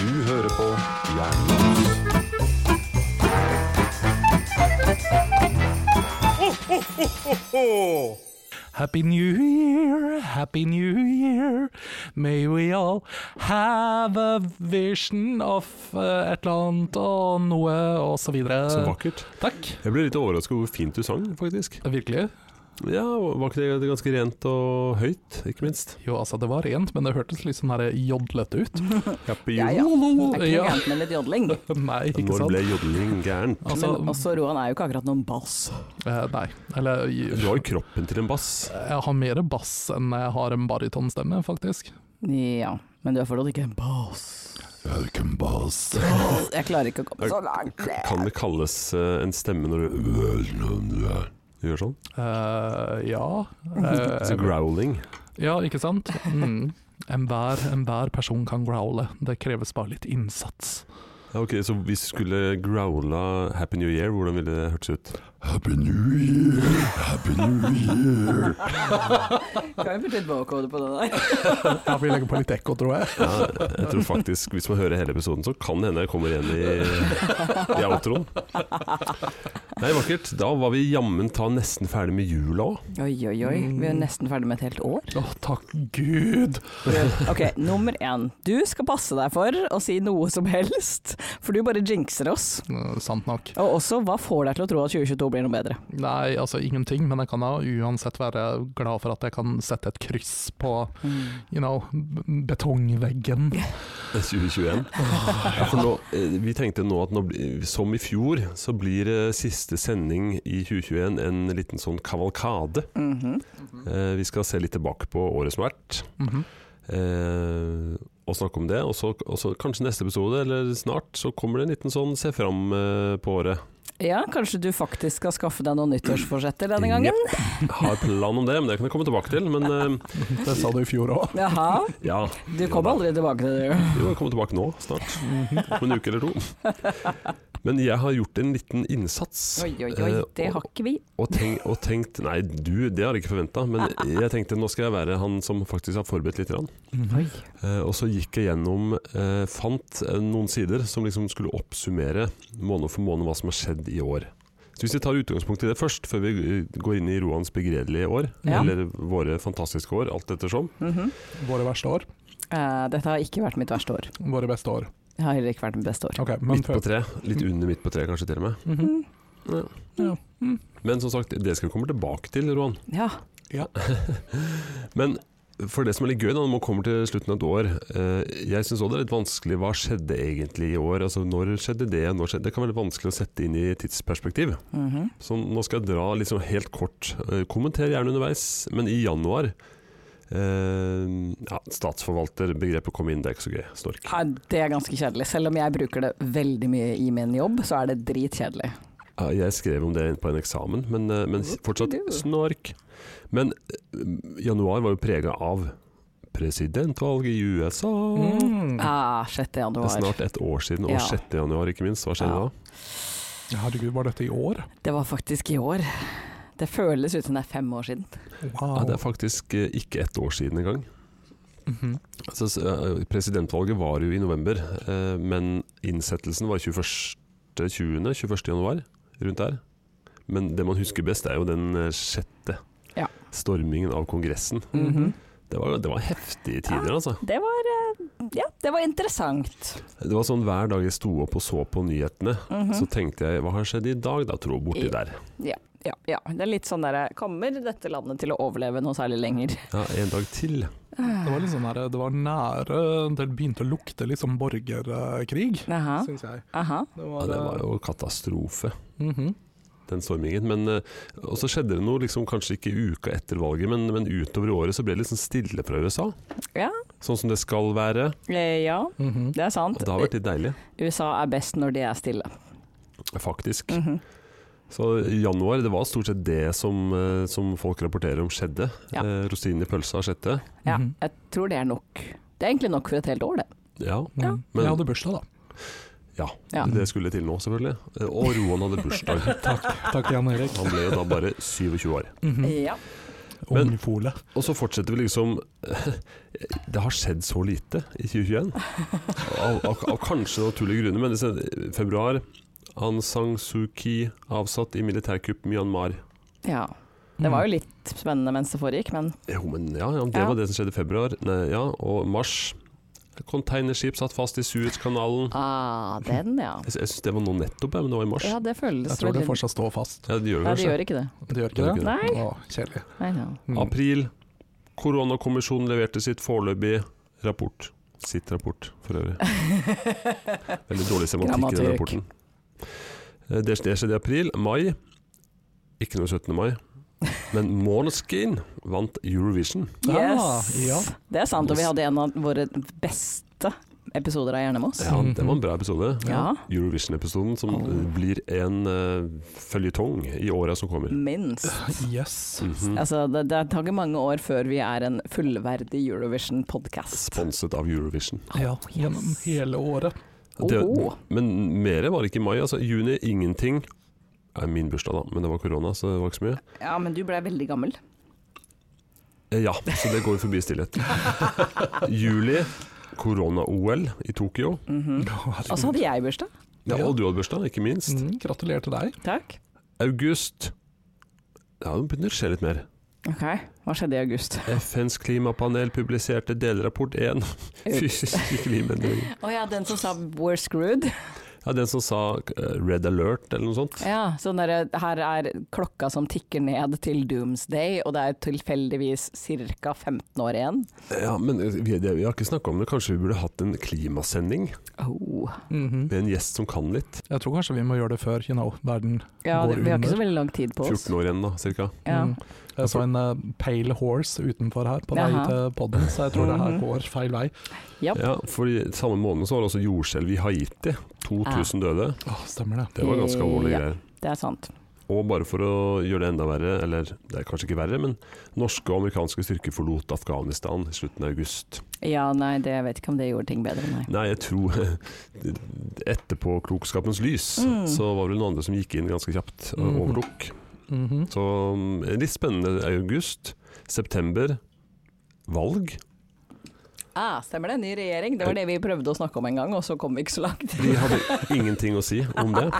Du hører på Jernbanen. Happy New Year, Happy New Year. May we all have a vision of eh, et eller annet og noe og så videre. Så vakkert. Takk. Jeg ble litt overraska over hvor fint du sang, faktisk. Virkelig. Ja, Var ikke det ganske rent og høyt, ikke minst? Jo, altså, det var rent, men det hørtes litt sånn her jodlete ut. Happy Ja, jul. ja. Det er ikke noe Ja. gærent med litt jodling. Nei, ikke Når sant? ble jodling gærent? Altså, Men også Roan er jo ikke akkurat noen bass. eh, nei. Eller Du har jo kroppen til en bass. jeg har mer bass enn jeg har en barytonstemme, faktisk. Ja, men du er fortsatt ikke en bass. Welcome, bass. Jeg klarer ikke å komme så langt. Kan det kalles eh, en stemme når du Du gjør sånn? Eh, ja. Så Uh, growling. Ja, ikke sant? Mm. Enhver, enhver person kan growle. Det kreves bare litt innsats. Ja, ok, Så hvis du skulle growla 'Happy New Year', hvordan ville det hørtes ut? Happy New Year! Happy New Year! Kan vi putte litt vokode på det der? Ja, vi legger på litt ekko, tror jeg. Ja, jeg tror faktisk, Hvis man hører hele episoden, så kan det hende jeg kommer igjen i, i outroen. Nei, vakkert. Da var vi jammen ta nesten ferdig med jula òg. Oi, oi, oi. Vi er nesten ferdig med et helt år. Å, takk Gud! Ok, nummer én. Du skal passe deg for å si noe som helst, for du bare jinxer oss. Eh, sant nok. Og også, hva får deg til å tro at 2022 blir noe bedre? Nei, altså ingenting, men jeg kan da uansett være glad for at jeg kan sette et kryss på, you know, b- betongveggen. 2021. Ja, for nå, eh, vi tenkte nå at nå, bli- som i fjor, så blir eh, siste sending i 2021 en liten sånn kavalkade. Mhm. Eh, Vi skal se litt tilbake på året som har vært. Mhm. eh, og snakke om det. Og så, og så kanskje neste episode, eller snart, så kommer det en liten sånn se fram eh, på året. Ja, kanskje du faktisk skal skaffe deg noen nyttårsforsetter denne gangen? Jeg har plan om det, men det kan jeg komme tilbake til. Men eh, Det sa du i fjor òg. Jaha. ja. Du kom aldri tilbake til det, du. Jo, jeg kommer tilbake nå, snart. Om en uke eller to. Men jeg har gjort en liten innsats. Oi, oi, oi. eh, Det og, har ikke vi. og, tenk, og tenkt Nei, du, det har jeg ikke forventa. Men jeg tenkte nå skal jeg være han som faktisk har forberedt litt. Grann. Mhm. Eh, og så gikk jeg gjennom, eh, fant eh, noen sider som liksom skulle oppsummere måned for måned hva som har skjedd i år. Så Hvis vi tar utgangspunkt i det først, før vi eh, går inn i Roans begredelige år, Ja. eller våre fantastiske år, alt ettersom. Mhm. Våre verste år. Eh, dette har ikke vært mitt verste år. Våre beste år. Det har heller ikke vært mitt beste år. Ok, men midt på tre, litt under midt på tre kanskje til og med. Mhm. Ja. Ja. Mm. Men som sagt, det skal vi komme tilbake til, Roan. Ja. Men for det som er litt gøy da, når man kommer til slutten av et år eh, Jeg syns òg det er litt vanskelig. Hva skjedde egentlig i år? Altså, når skjedde det? Når skjedde? Det kan være litt vanskelig å sette inn i tidsperspektiv. Mhm. Så nå skal jeg dra liksom helt kort. Eh, Kommenter gjerne underveis, men i januar eh, ja, Statsforvalterbegrepet kom inn, det er ikke så gøy. Snork. Nei, Det er ganske kjedelig. Selv om jeg bruker det veldig mye i min jobb, så er det dritkjedelig. Ja, jeg skrev om det inn på en eksamen, men, eh, men fortsatt Du. snork. Men eh, januar var jo prega av presidentvalg i USA. Mm. Ah, 6. Mhm. Det er januar. snart et år siden, og Ja. 6. januar ikke minst. Hva skjedde Ja. da? Herregud, var dette i år? Det var faktisk i år. Det føles ut som det er fem år siden. Wow. Ja, det er faktisk eh, ikke et år siden engang. Mhm. Altså, s- eh, presidentvalget var jo i november, eh, men innsettelsen var 21. 20. 21. januar, rundt der. Men det man husker best, er jo den eh, sjette. Ja. Stormingen av Kongressen. Mhm. Det var, det var heftige tider, altså. Det var eh, Ja, det var interessant. Det var sånn hver dag jeg sto opp og så på nyhetene, så tenkte jeg hva har skjedd i dag da, tro, borti Mhm. Ja. der. Ja, ja, ja. Det er litt sånn derre Kommer dette landet til å overleve noe særlig lenger? Ja, en dag til. Det var litt sånn her, det var nære Det begynte å lukte litt sånn borgerkrig, Aha. syns jeg. Aha. Det Ja, var, det var jo katastrofe, Mhm. den stormingen. Men eh, og så skjedde det noe, liksom, kanskje ikke uka etter valget, men, men utover i året så ble det liksom stille fra USA. Ja. Sånn som det skal være. Eh, ja, Mhm. det er sant. Og det har vært litt deilig, USA er best når de er stille. faktisk. Mhm. Så i januar, det var stort sett det som, eh, som folk rapporterer om skjedde. Ja. Eh, Rosinen i pølsa har skjedd det. Ja, Mhm. jeg tror det er nok. Det er egentlig nok for et helt år, det. Ja. Ja. Men- Jeg hadde bursdag, da. Ja, Ja. det skulle til nå selvfølgelig. Eh, Og Roan hadde bursdag. Takk, takk Jan Erik. Han ble jo da bare 27 år. Mhm. Ja. Men- Ungfole. Og så fortsetter vi liksom Det har skjedd så lite i 2021. Av, av, av kanskje naturlige grunner, men i februar Aung San Suu Kyi avsatt i militærkupp Myanmar. ja. Det var jo litt spennende mens det foregikk, men Eh, Jo, men ja, ja, det Ja. var det som skjedde i februar. Nei, ja, og mars. Containerskip satt fast i Suezkanalen. ah, den, ja. Jeg, jeg syns det var nå nettopp, ja, men det var i mars. Ja, det føles Jeg tror det veldig fortsatt står fast. Ja, det gjør det Nei, det kanskje. gjør ikke det. Det gjør ikke det? Nei. Å, kjedelig. Nei, ja. Mm. April. Koronakommisjonen leverte sitt foreløpige rapport. Sitt rapport, for øvrig. Veldig dårlig semantikk i den Grammatikk. rapporten. Eh, Det, det skjedde i april. Mai. Ikke noe 17. mai. Men Måneskin vant Eurovision. Ah, Yes! ja. Det er sant, og vi hadde en av våre beste episoder av Hjernemos. Ja, Mm-hmm. det var en bra episode. Ja. Eurovision-episoden som Oh. eh, blir en uh, føljetong i åra som kommer. Mm. Minst. Yes. Mhm. Altså, det, det tar ikke mange år før vi er en fullverdig Eurovision-podkast. Sponset av Eurovision. Ja, gjennom hele året. Det, Oho. men mer var det ikke i mai. Altså, juni ingenting. Det er min bursdag, da, men det var korona, så det var ikke så mye. Ja, men du ble veldig gammel. Eh, Ja, så det går jo forbi stillhet. Juli, korona-OL i Tokyo. Mhm. Og så hadde jeg bursdag. Ja, Ja. og du hadde bursdag, ikke minst. Mm, gratulerer til deg. Takk. August. Ja, det begynner å skje litt mer. Ok, Hva skjedde i august? FNs klimapanel publiserte delrapport 1. Fysiske klimaendringer. Å ja, den som sa 'we're screwed'? Ja, den som sa eh, Red Alert eller noe sånt. Ja, sånn der, Her er klokka som tikker ned til doomsday, og det er tilfeldigvis ca. 15 år igjen. Ja, men eh, vi, det, vi har ikke snakka om det. Kanskje vi burde hatt en klimasending Oh. Mhm. med en gjest som kan litt. Jeg tror kanskje vi må gjøre det før, you know, verden Ja, går det, vi har ikke så under. veldig lang tid på oss. 14 år igjen, da, cirka. Ja. Mm. Jeg så en eh, pale horse utenfor her på vei Jaha. til podden, så jeg tror det her Mhm. går feil vei. Japp. Ja, for i samme måned så var det også jordskjelv i Haiti. 2000 døde. Åh, stemmer det. Det var ganske alvorlige Ah. Ja. greier. Det er sant. Og bare for å gjøre det enda verre, eller det er kanskje ikke verre, men norske og amerikanske styrker forlot Afghanistan i slutten av august. Ja, nei, det, jeg vet ikke om det gjorde ting bedre, nei. Nei, jeg tror Etterpåklokskapens lys, Mm. så var det vel noen andre som gikk inn ganske kjapt og Mhm. overtok. Mhm. Så mm, litt spennende august. September. Valg. Ah, stemmer det, ny regjering. Det var det vi prøvde å snakke om en gang, og så kom vi ikke så langt. Vi hadde ingenting å si om det.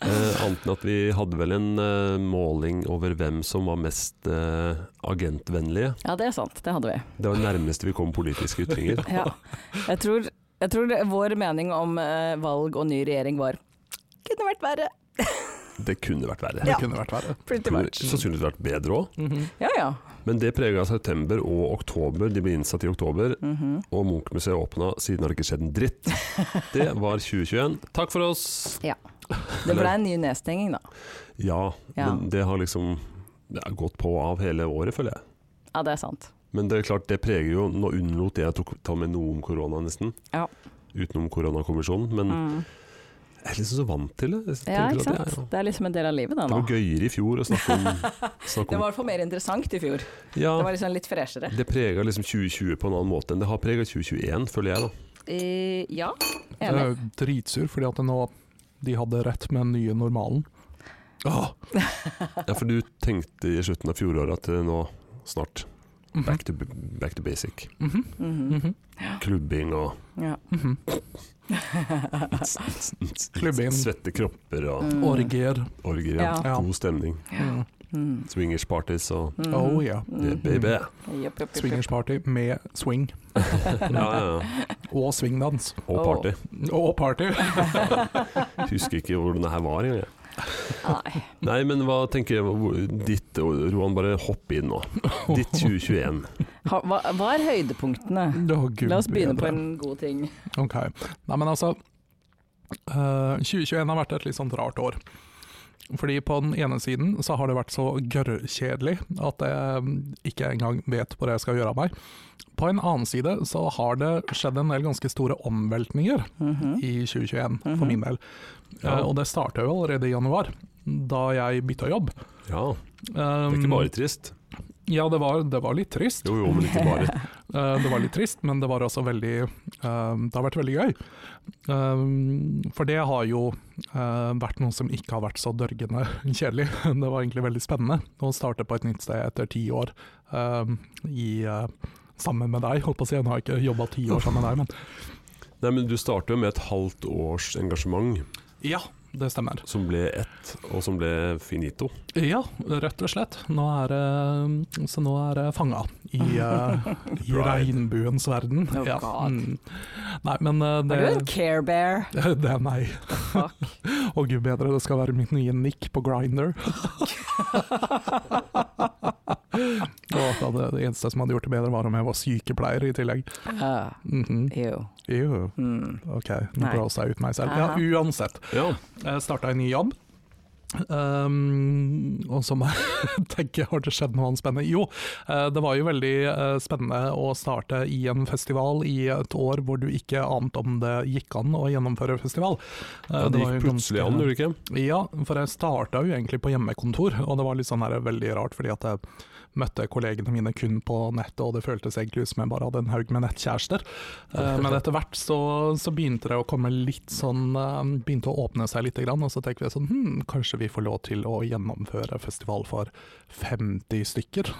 Eh, annet enn at vi hadde vel en eh, måling over hvem som var mest eh, agentvennlige. Ja, det er sant. Det hadde vi. Det var det nærmeste vi kom politiske ytringer. Ja. Jeg tror, jeg tror det, vår mening om eh, valg og ny regjering var kunne vært verre, Det kunne vært verre. Det kunne vært verre. pretty Kunne much. sannsynligvis vært bedre òg, Mhm. Ja ja. men det prega september og oktober. De ble innsatt i oktober, Mhm. og Munchmuseet åpna. Siden har det ikke skjedd en dritt. Det var 2021. Takk for oss! Det ble en ny nedstenging, da. Ja, Ja. men det har liksom det har gått på og av hele året, føler jeg. Ja, det er sant. Men det er klart, det preger jo Nå unnlot jeg å tok- ta med noe om korona, nesten. Ja. Utenom koronakommisjonen, men Mm. jeg er liksom så vant til det. Jeg Ja, tenker ikke at jeg- sant. Det er liksom en del av livet, det Det var nå. gøyere i fjor å snakke om, snakke Det om var i hvert fall mer interessant i fjor. Det Ja, var liksom litt freshere. det prega liksom 2020 på en annen måte enn det har prega 2021, føler jeg, da. Eh, ja, Jeg er enig. jo dritsur fordi at nå de hadde rett med den nye normalen. Åh, Ja, for du tenkte i slutten av fjoråret at eh, nå snart mhm. back to, back to basic. Mhm. Mhm. Mhm. Klubbing og Ja. Mhm. Klubbing. svette kropper og Mm. Orger. orger. Ja. Ja. God stemning. Mm. Mm. Swingers parties og Mhm. Oh yeah. yeah, baby. Jepp, jepp, jepp, jepp. Swingersparty med swing Ja, ja, ja. og swingdans. Og party. Og party! Husker ikke hvordan det her var engang. jeg. Nei. Nei, men hva tenker jeg hvor- ditt Roan, bare hopp inn nå. Ditt 2021. Ha, hva, hva er høydepunktene? Å, Gud La oss begynne på bedre. en god ting. Ok. Nei, men altså eh, 2021 har vært et litt sånt rart år. Fordi på den ene siden så har det vært så gørrkjedelig at jeg mm, ikke engang vet hvor jeg skal gjøre av meg. På en annen side så har det skjedd en del ganske store omveltninger Mhm. i 2021, for Mhm. min del. Eh, og det starta jo allerede i januar, da jeg bytta jobb. Um, Ja, det er ikke bare trist. Ja, det var, det var litt trist. Jo, jo, men ikke bare. Eh, Det var litt trist, men det var også veldig eh, Det har vært veldig gøy. Eh, For det har jo eh, vært noe som ikke har vært så dørgende kjedelig. Det var egentlig veldig spennende å starte på et nytt sted etter ti år eh, i eh, Sammen med deg, holdt på å si. Nå har jeg ikke jobba ti år sammen med deg, men Nei, men Du starter jo med et halvt års engasjement, ja, det stemmer. som ble ett, og som ble finito. Ja, rett og slett. Nå er det, så nå er det fanga i, eh, i Right. regnbuens verden. Oh, God. mm. Nei, men eh, Er du en det, care bear? det er meg. Fuck. Å gud bedre, det skal være mitt nye nikk på Grinder. det var det eneste som hadde gjort det bedre, var om jeg var sykepleier i tillegg. Uh, Mhm. ew. Ew, Mm. ok, nå Nei. blåser jeg ut meg selv. Ja, Aha. uansett. Ja, Jeg starta en ny jobb. Um, og så må jeg tenke, har det skjedd noe annet spennende? Jo, eh, det var jo veldig eh, spennende å starte i en festival i et år hvor du ikke ante om det gikk an å gjennomføre festival. Eh, ja Det var gikk jo plutselig ganske- an, gjorde det ikke? ja, for jeg starta jo egentlig på hjemmekontor, og det var litt sånn her veldig rart, fordi at jeg møtte kollegene mine kun på nettet, og det føltes egentlig ut som jeg bare hadde en haug med nettkjærester. Eh, Men etter hvert så, så begynte det å komme litt sånn eh, Begynte å åpne seg litt, grann, og så tenker vi sånn hm, Kanskje vi får lov til å gjennomføre festival for 50 stykker?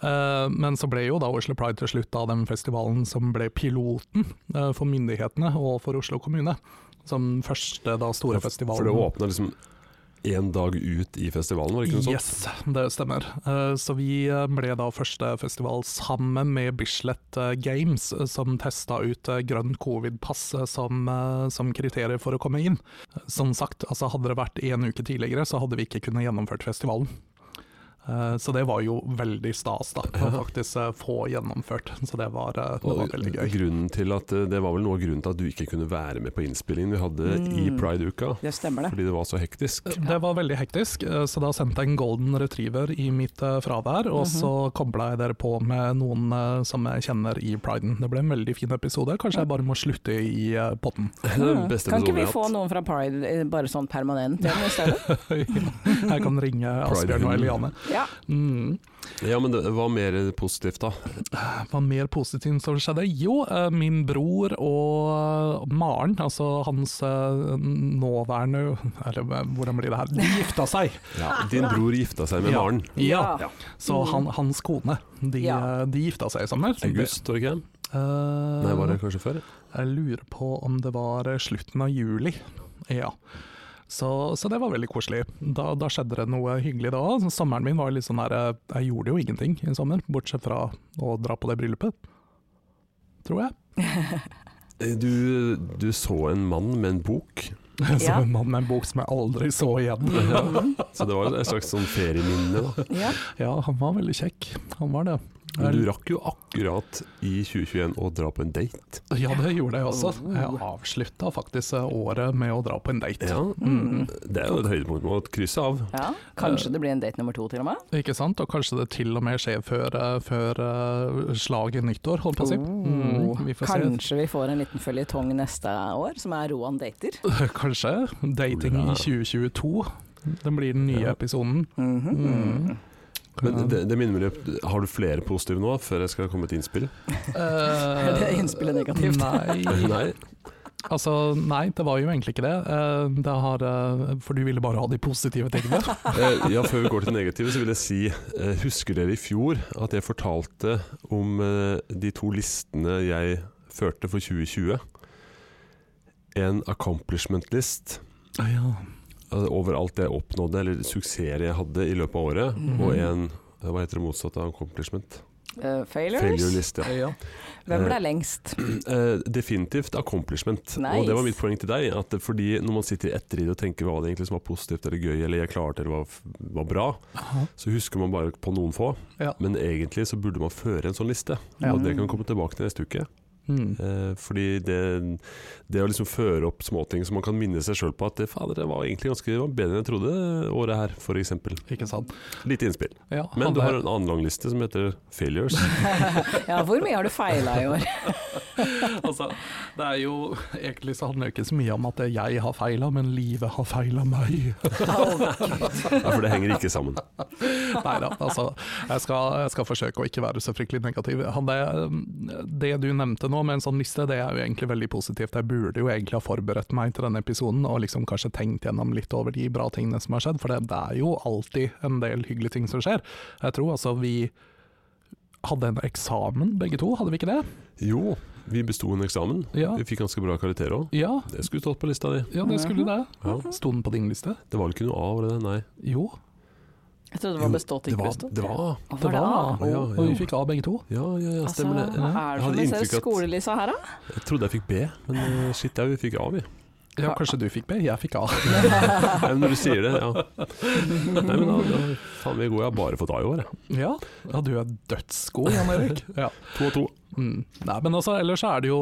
Eh, Men så ble jo da Oslo Pride til slutt da den festivalen som ble piloten eh, for myndighetene og for Oslo kommune. Som første da store festivalen. For det åpna liksom én dag ut i festivalen, var det ikke noe sånt? Yes, det stemmer. Eh, Så vi eh, ble da første festival sammen med Bislett eh, Games, eh, som testa ut eh, grønn covid-pass eh, som, eh, som kriterier for å komme inn. Eh, Som sagt, altså hadde det vært én uke tidligere, så hadde vi ikke kunnet gjennomført festivalen. Eh, Så det var jo veldig stas, da, å faktisk eh, få gjennomført. Så det var, eh, det var veldig Og gøy. grunnen til at eh, Det var vel noe av grunnen til at du ikke kunne være med på innspillingen vi hadde i Mm. Pride-uka, Det stemmer, det. fordi det var så hektisk. Det var veldig hektisk, eh, så da sendte jeg en golden retriever i mitt eh, fravær, og så kobla jeg dere på med noen eh, som jeg kjenner i priden. Det ble en veldig fin episode, kanskje jeg bare må slutte i eh, potten. Den beste Mm. Kan episoden ikke vi jeg få har hatt. noen fra Pride eh, bare sånn permanent igjen i stedet? jeg kan ringe Asbjørn og Eliane. Ja. Mm. Ja, men det var mer positivt, da. Hva mer positivt som skjedde? Jo, eh, min bror og Maren, altså hans eh, nåværende Eller eh, hvordan blir det her? De gifta seg! Din bror gifta seg med Ja. Maren. Ja. Ja. Så han, hans kone. De, Ja. eh, de gifta seg i sommer. August, var det ikke? det? Eh, Nei, var det kanskje før? Jeg lurer på om det var slutten av juli. Ja. Så, så det var veldig koselig. Da, da skjedde det noe hyggelig da. Så Sommeren min var litt sånn her eh, Jeg gjorde jo ingenting i sommer, bortsett fra å dra på det bryllupet. Tror jeg. Eh, Du, du så en mann med en bok, Som Ja. en mann med en bok som jeg aldri så igjen. så det var jo et slags sånn ferieminne. da Mhm. ja. Ja, han var veldig kjekk. Han var det. Men du rakk jo akkurat i 2021 å dra på en date. Ja, det gjorde jeg også. Jeg avslutta faktisk eh, året med å dra på en date. Ja, Mhm. Det er jo et høydepunkt man må krysse av. ja. Kanskje det blir en date nummer to til og med? Ikke sant? Og kanskje det til og med skjer før, eh, før eh, slaget nyttår, holdt på å si. Mm, vi får se. Oh, Kanskje vi får en liten føljetong neste år, som er Roan dater. Kanskje. Dating i 2022. Den blir den nye Ja. episoden. Mhm. Mm. Men det, det minner meg om Har du flere positive nå, før jeg skal komme med et innspill? Eh, Er det innspillet negativt? Nei. Nei. Altså, nei, det var jo egentlig ikke det. Eh, det har, eh, for du ville bare ha de positive tingene. Eh, Ja, Før vi går til det negative, så vil jeg si eh, Husker dere i fjor at jeg fortalte om eh, de to listene jeg førte for 2020? En accomplishment list ja. altså over alt jeg oppnådde, eller suksesser jeg hadde i løpet av året, Mhm. og en eh, hva heter det motsatte av accomplishment? Eh, failures? Failure list, ja. ja. Hvem ble lengst? Eh, definitivt accomplishment. Nice. Og det var mitt poeng til deg. At fordi når man sitter i ettertid og tenker hva det egentlig som var positivt eller gøy, eller jeg klarte eller var, var bra, Aha. så husker man bare på noen få. Ja. Mm. Men egentlig så burde man føre en sånn liste. Ja. Og det kan vi komme tilbake til neste uke. Mm. Eh, fordi det, det å liksom føre opp småting som man kan minne seg sjøl på at det, fader, det var egentlig ganske det var bedre enn jeg trodde året her, f.eks. Ikke sant. Lite innspill. Ja, Men du hadde- har en annen langliste som heter failures. ja, hvor mye har du feila i år? altså, det er jo, egentlig så handler det ikke så mye om at jeg har feila, men livet har feila meg. Ja, for det henger ikke sammen. Nei da, altså. Jeg skal, jeg skal forsøke å ikke være så fryktelig negativ. Han, det, det du nevnte nå med en sånn liste, det er jo egentlig veldig positivt. Jeg burde jo egentlig ha forberedt meg til denne episoden og liksom kanskje tenkt gjennom litt over de bra tingene som har skjedd, for det, det er jo alltid en del hyggelige ting som skjer. Jeg tror altså vi hadde en eksamen begge to, hadde vi ikke det? Jo, vi besto en eksamen. Ja. Vi fikk ganske bra karakter òg. Ja, Det skulle stått på lista di. ja det skulle det. Ja. Sto den på din liste? Det var vel ikke noe A over det, nei. Jo, Jeg trodde det Jo, var bestått, Det ikke var, bestått. det var A. Å, det var det var A? Å, ja, Og vi ja. fikk A begge to. Ja, ja, ja, Altså, stemmer det. hva er Jeg det hadde for en inntrykk slags at- skole, Lisa, her da? Jeg trodde jeg fikk B, men eh, shit, ja, vi fikk A, vi. Ja, kanskje du fikk B, jeg fikk A. Nei, men når du sier det, ja. Nei, men da, da faen, vi er gode. Jeg har bare fått A i år, jeg. Ja, ja du er dødsgod, Jan Erik. Ja. To og to. Mm. Nei, men altså, ellers er det jo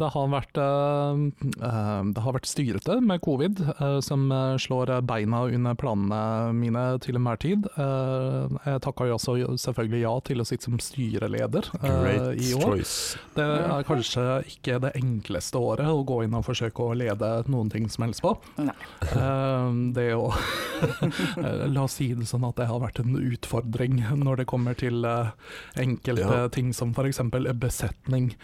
Det har vært, eh, eh, det har vært styrete med covid, eh, som eh, slår beina under planene mine til enhver tid. Eh, jeg takka jo også selvfølgelig ja til å sitte som styreleder eh, Great i år. choice. Det er kanskje ikke det enkleste året å gå inn og forsøke å lede noen ting som helst på. Nei. Eh, Det å eh, La oss si det sånn at det har vært en utfordring når det kommer til eh, enkelte Ja. ting som f.eks. besetning.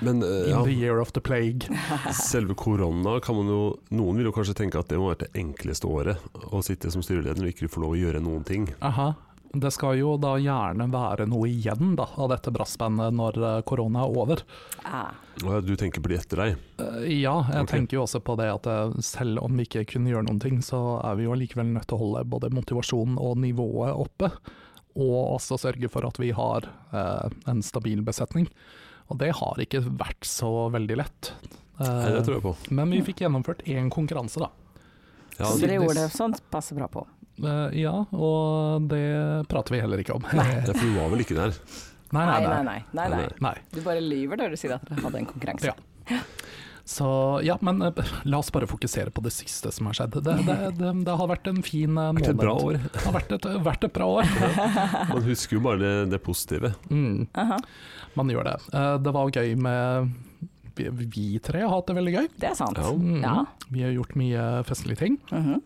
Men eh, In ja, the year of the plague. selve korona kan man jo Noen vil jo kanskje tenke at det må være det enkleste året å sitte som styreleder og ikke få lov å gjøre noen ting. Aha. Det skal jo da gjerne være noe igjen da, av dette brassbandet når eh, korona er over. Ah. Og ja, du tenker på de etter deg. Eh, Ja, jeg Ok. tenker jo også på det at eh, selv om vi ikke kunne gjøre noen ting, så er vi jo allikevel nødt til å holde både motivasjonen og nivået oppe. Og også sørge for at vi har eh, en stabil besetning. Og det har ikke vært så veldig lett. Eh, Nei, det tror jeg på. Men vi fikk gjennomført én konkurranse, da. Ja, så det- dere gjorde det sånn, passer bra på. Eh, ja, og det prater vi heller ikke om. det er for du var vel ikke der? nei, Nei, nei, nei, nei. nei. nei, nei. nei. Du bare lyver når du sier at dere hadde en konkurranse. Ja. Så ja, men eh, la oss bare fokusere på det siste som har skjedd. Det, det, det, det har vært en fin eh, måned. Vært et bra år. Det har vært et, vært et bra år. Man husker jo bare det, det positive. Mm, Aha. man gjør det. Eh, Det var gøy med vi, vi tre har hatt det veldig gøy. Det er sant. Ja. Mm, Ja. Vi har gjort mye festlige ting. Mhm.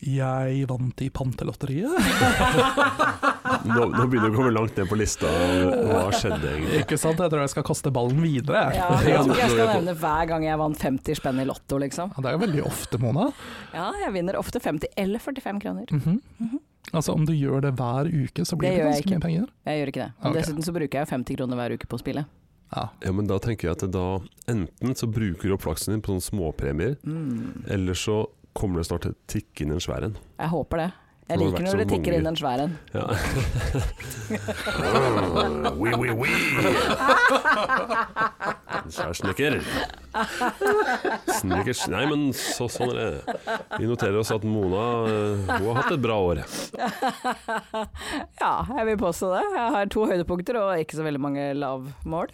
Jeg vant i pantelotteriet. Nå, nå begynner du å komme langt ned på lista. Hva skjedde egentlig? Ikke sant? Jeg tror jeg skal kaste ballen videre. ja, Ja, jeg tror ikke jeg nå er skal jeg på. nevne hver gang jeg vant 50 spenn i Lotto, liksom. Ja, Det er jo veldig ofte, Mona. Ja, jeg vinner ofte 50 eller 45 kroner. Mhm. Altså Om du gjør det hver uke, så blir Det det, gjør jeg ganske mye penger. Jeg gjør ikke det. Og Ok. Dessuten så bruker jeg 50 kroner hver uke på spillet. Ja. Ja, men da tenker jeg at det da enten så bruker du opp flaksen din på sånne småpremier, Mm. eller så kommer det snart til å tikke inn en svær en. Jeg håper det. Jeg Det har liker vært når så det tikker mange- inn en svær Ja. en. oh, oui, oui, oui. En svær snekker. Snekkers Nei, men så, sånn er det. Vi noterer oss at Mona eh, hun har hatt et bra år. Ja, jeg vil påstå det. Jeg har to høydepunkter og ikke så veldig mange lavmål.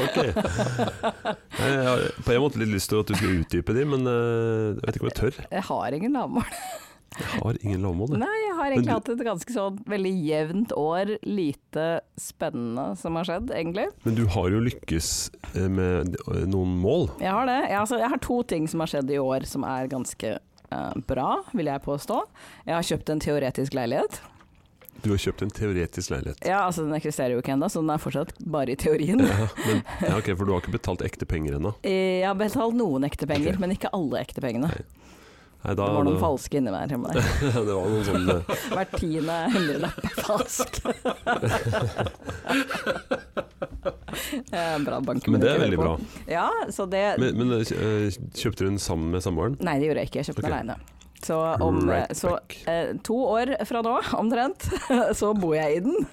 Ok. Jeg har på en måte litt lyst til at du skulle utdype de, men eh, jeg vet ikke om jeg tør. Jeg har ingen lavmål. Jeg har ingen lavmål. jeg. Nei, jeg har du- egentlig hatt et ganske sånn veldig jevnt år, lite spennende som har skjedd, egentlig. Men du har jo lykkes eh, med eh, noen mål. Jeg har det. Jeg, altså, jeg har to ting som har skjedd i år som er ganske eh, bra, vil jeg påstå. Jeg har kjøpt en teoretisk leilighet. Du har kjøpt en teoretisk leilighet. Ja, altså Den eksisterer jo ikke ennå, så den er fortsatt bare i teorien. Ja, men, ja, ok, For du har ikke betalt ekte penger ennå? Eh, Jeg har betalt noen ekte penger, Ok. Ah. men ikke alle ekte pengene. Nei, Nei, da Det er var noen det- falske inni der. men det- det var noen sånne Hver tiende hundrelapp er falsk. Det er en Eh, bra bank, Men det er ikke veldig bra. hører på. Ja, så det Men, men eh, kjøpte du den sammen med samboeren? Nei, det gjorde jeg ikke. Jeg kjøpte den Ok. aleine. Så, om, Right så back. eh, to år fra nå, omtrent, så bor jeg i den.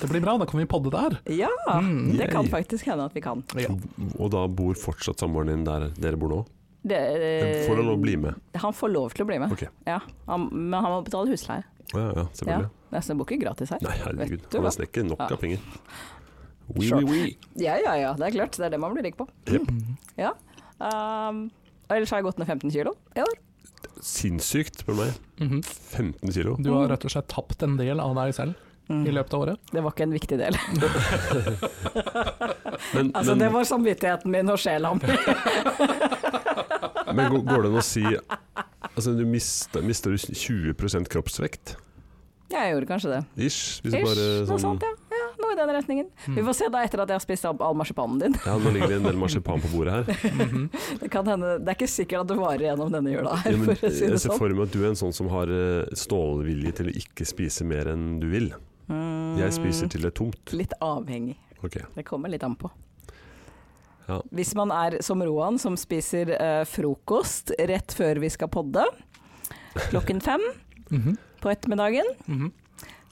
Det blir bra, da kan vi podde der. Ja, Mm, det kan yay. faktisk hende at vi kan. Ja. Og da bor fortsatt samboeren din der dere bor nå? Det, eh, Får han lov å bli med? Han får lov til å bli med, Ok. ja. Han, men han må betale husleie. Ja, ja, selvfølgelig. Nesten bor ikke gratis her. Nei, herregud. Vet du Han hva? er snekker. Nok Ja. av penger. Oui, Sure. oui, oui. Ja, ja, ja. Det er klart. Det er det man blir rik på. Jep. Mm. Um, og ellers har jeg gått ned 15 kilo i år. Sinnssykt, spør du meg. Mhm. 15 kilo. Du har rett og slett tapt en del av deg selv Mm. i løpet av året. Det var ikke en viktig del. Men, Altså, men, det var samvittigheten min og sjela mi. men går- går det an å si Altså, du mister, mister du 20 kroppsvekt? Jeg gjorde kanskje det. Ish. Hvis du Ish, bare noe sånn Mm. sånt, ja. ja. Noe i den retningen. Vi får se da etter at jeg har spist opp all marsipanen din. Ja, nå ligger det en del marsipan på bordet her. Det, kan hende, det er ikke sikkert at det varer gjennom denne jula, her, Ja, men eh, for å si jeg det ser sånn. for meg at du er en sånn som har eh, stålvilje til å ikke spise mer enn du vil. Jeg spiser Mm. til det er tomt. Litt avhengig. Ok. Det kommer litt an på. Ja. Hvis man er som Roan, som spiser eh, frokost rett før vi skal podde, klokken fem Mhm. på ettermiddagen, Mhm.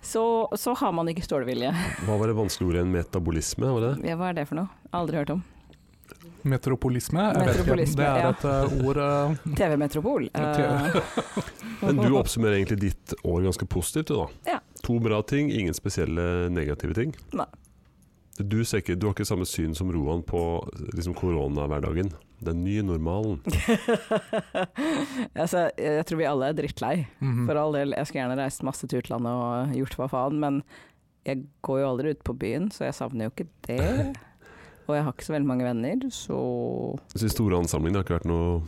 så, så har man ikke stålvilje. Hva var det vanskelige ordet? En Metabolisme, var det det? Ja, Hva er det for noe? Aldri hørt om. Metropolisme? Jeg vet ikke. Metropolisme, Det er ja. et eh, ord eh, TV Metropol. eh, Men du oppsummerer egentlig ditt år ganske positivt, du da. Ja. To bra ting, ingen spesielle negative ting. Nei. Du, ser ikke, du har ikke samme syn som Roan på liksom, koronahverdagen. Den nye normalen. altså, jeg tror vi alle er drittlei. mhm. Mm. For all del, jeg skulle gjerne reist masse til utlandet og gjort hva faen, men jeg går jo aldri ut på byen, så jeg savner jo ikke det. Og jeg har ikke så veldig mange venner, så Så de store ansamlingene har ikke vært noe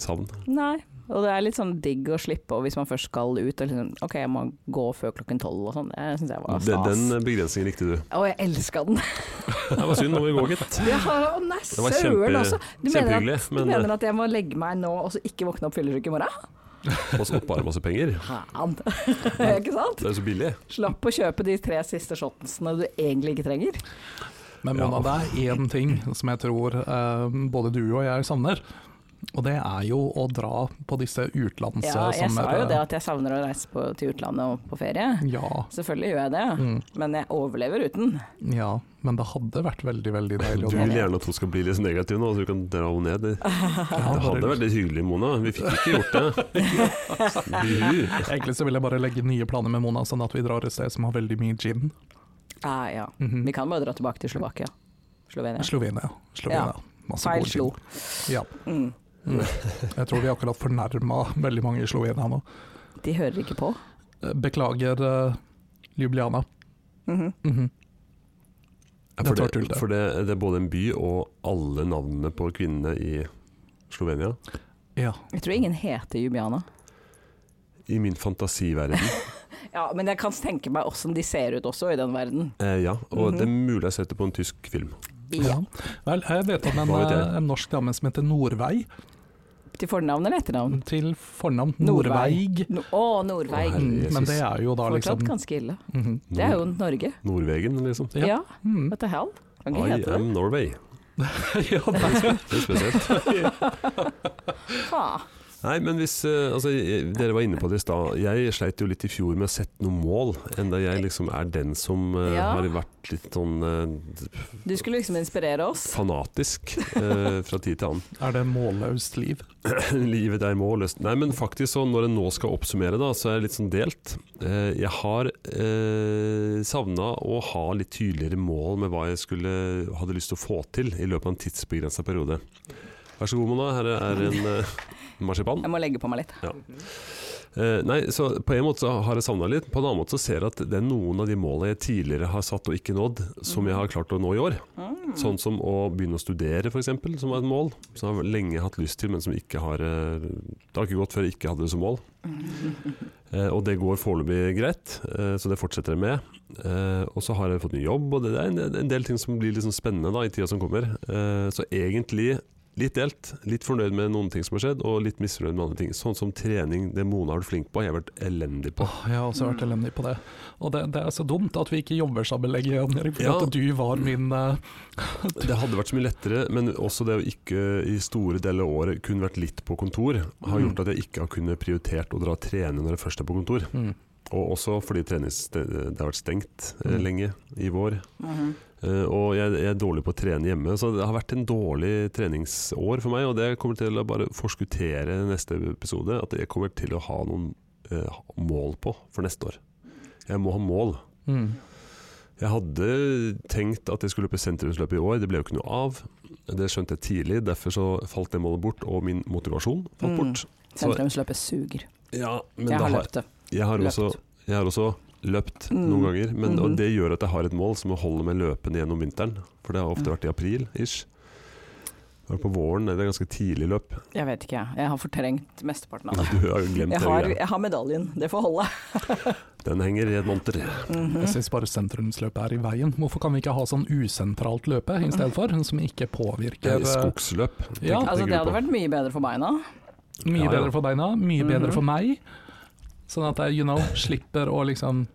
savn. Nei. Og det er litt sånn digg å slippe, og hvis man først skal ut og liksom OK, jeg må gå før klokken tolv og sånn, det syns jeg var Den, stas. den eh, begrensningen likte du. Å, jeg elska den. Det var synd, nå må vi gå, gitt. Ja, å nei, Det var søren kjempe, også. Du mener, at, kjempehyggelig, du men mener at jeg må legge meg nå og så ikke våkne opp fyllesyk i morgen? eh, også oppar masse penger. Faen. ikke sant? Det er jo så billig. Slapp å kjøpe de tre siste shotsene du egentlig ikke trenger. Men Ja. Mona, det er én ting som jeg tror eh, både du og jeg savner. Og det er jo å dra på disse utlands... Ja, jeg sa jo sommer- eh, det at jeg savner å reise på, til utlandet og på ferie. Ja, Selvfølgelig gjør jeg det, Mm. men jeg overlever uten. ja, men det hadde vært veldig, veldig Du deilig å dra. vil gjerne at hun skal bli litt negativ nå, så du kan dra henne ned. Det Ja, hadde bare- vært litt hyggelig, Mona. Vi fikk ikke gjort det. Buhu. Egentlig så vil jeg bare legge nye planer med Mona, sånn at vi drar et sted som har veldig mye gin. Ah, ja. Mhm. Vi kan bare dra tilbake til Slovakia. Slovenia. Slovenia. Slovenia. Masse Feil god gin. slo. Ja. Mm. Mm. Jeg tror vi akkurat fornærma veldig mange i Slovenia nå. De hører ikke på. Eh, Beklager, eh, Ljubljana. Mhm. Mhm. Ja, Dette For, var det, tull, det. for det, det er både en by og alle navnene på kvinnene i Slovenia. Ja. Jeg tror ingen heter Jubiana. I min fantasiverden. Ja, men jeg kan tenke meg åssen de ser ut også i den verden. Eh, ja, og det er mulig jeg har sett det på en tysk film. Ja. Vel, jeg vet om en, Hva vet jeg? eh, en norsk dame som heter Norvei, Til fornavn eller etternavn? til fornavn Norveig. Norveig. No å, Nordveig. Å, herre. Mm, Men det er jo da Fortsatt liksom ganske ille. Mhm. Det er jo Norge. Nordvegen, liksom. Ja. Ja, Mm. what the hell? Kan ikke I hete det. am Norway. Ja, det er Det er spesielt. Ha. Nei, men hvis eh, Altså, jeg- dere var inne på det i stad. Jeg sleit jo litt i fjor med å sette noe mål, enda jeg liksom er den som eh, Ja. har vært litt sånn eh, Du skulle liksom inspirere oss. fanatisk eh, fra tid til annen. Er det målløst liv? Livet er målløst. Nei, men faktisk så når jeg nå skal oppsummere, da, så er jeg litt sånn delt. Eh, jeg har uh, savna å ha litt tydeligere mål med hva jeg skulle hadde lyst til å få til i løpet av en tidsbegrensa periode. Vær så god, Mona. Her er en eh, marsipan. Jeg må legge på meg litt. Eh, nei, så på en måte så har jeg savna litt. På en annen måte så ser jeg at det er noen av de målene jeg tidligere har satt og ikke nådd, som jeg har klart å nå i år. Sånn som å begynne å studere, f.eks., som var et mål. Som jeg har lenge hatt lyst til, men som ikke har eh, Det har ikke gått før jeg ikke hadde det som mål. Eh, og det går foreløpig greit, eh, så det fortsetter jeg med. Eh, og så har jeg fått ny jobb, og det er en, en del ting som blir litt sånn spennende da, i tida som kommer. Eh, så egentlig litt delt. Litt fornøyd med noen ting som har skjedd, og litt misfornøyd med andre ting. Sånn som trening, det Mona har vært flink på, jeg har vært elendig på. Åh, jeg har også vært elendig på det. Og det, det er så dumt at vi ikke jobber sammen lenger, Jan Erik, for Ja. at du var min eh, Det hadde vært så mye lettere, men også det å ikke i store deler av året kun vært litt på kontor, har gjort at jeg ikke har kunnet prioritert å dra og trene når jeg først er på kontor. mm. Og også fordi trenings, det, det har vært stengt eh, Mm. lenge i vår. Mhm. Eh, og jeg, jeg er dårlig på å trene hjemme, så det har vært en dårlig treningsår for meg. Og det kommer til å bare forskuttere neste episode, at jeg kommer til å ha noen eh, mål på for neste år. Jeg må ha mål. Mm. Jeg hadde tenkt at jeg skulle løpe sentrumsløpet i år, det ble jo ikke noe av. Det skjønte jeg tidlig, derfor så falt det målet bort, og min motivasjon falt Mm. bort. Så- Sentrumsløpet suger. Ja, men Jeg da har har, løpt det. jeg har, løpt. også, jeg har også løpt Mm. noen ganger, men, Mhm. og det gjør at jeg har et mål som jeg holder meg løpende gjennom vinteren. For det har ofte Ja. vært i april-ish. Var det på våren, eller ganske tidlig løp. Jeg vet ikke, jeg. Jeg har fortrengt mesteparten av Du det. har jo glemt det. Jeg har, greia. jeg har medaljen, det får holde. Den henger i et monter. Mm. Mhm. Jeg syns bare sentrumsløpet er i veien. Hvorfor kan vi ikke ha sånn usentralt løpe i stedet for, som ikke påvirker Eh, eh, Skogsløp. tenker- Ja. tenker du Altså, det hadde på. vært mye bedre for beina. Mye Ja, ja. bedre for beina, mye bedre Mhm. for meg. Sånn at jeg you know, slipper å liksom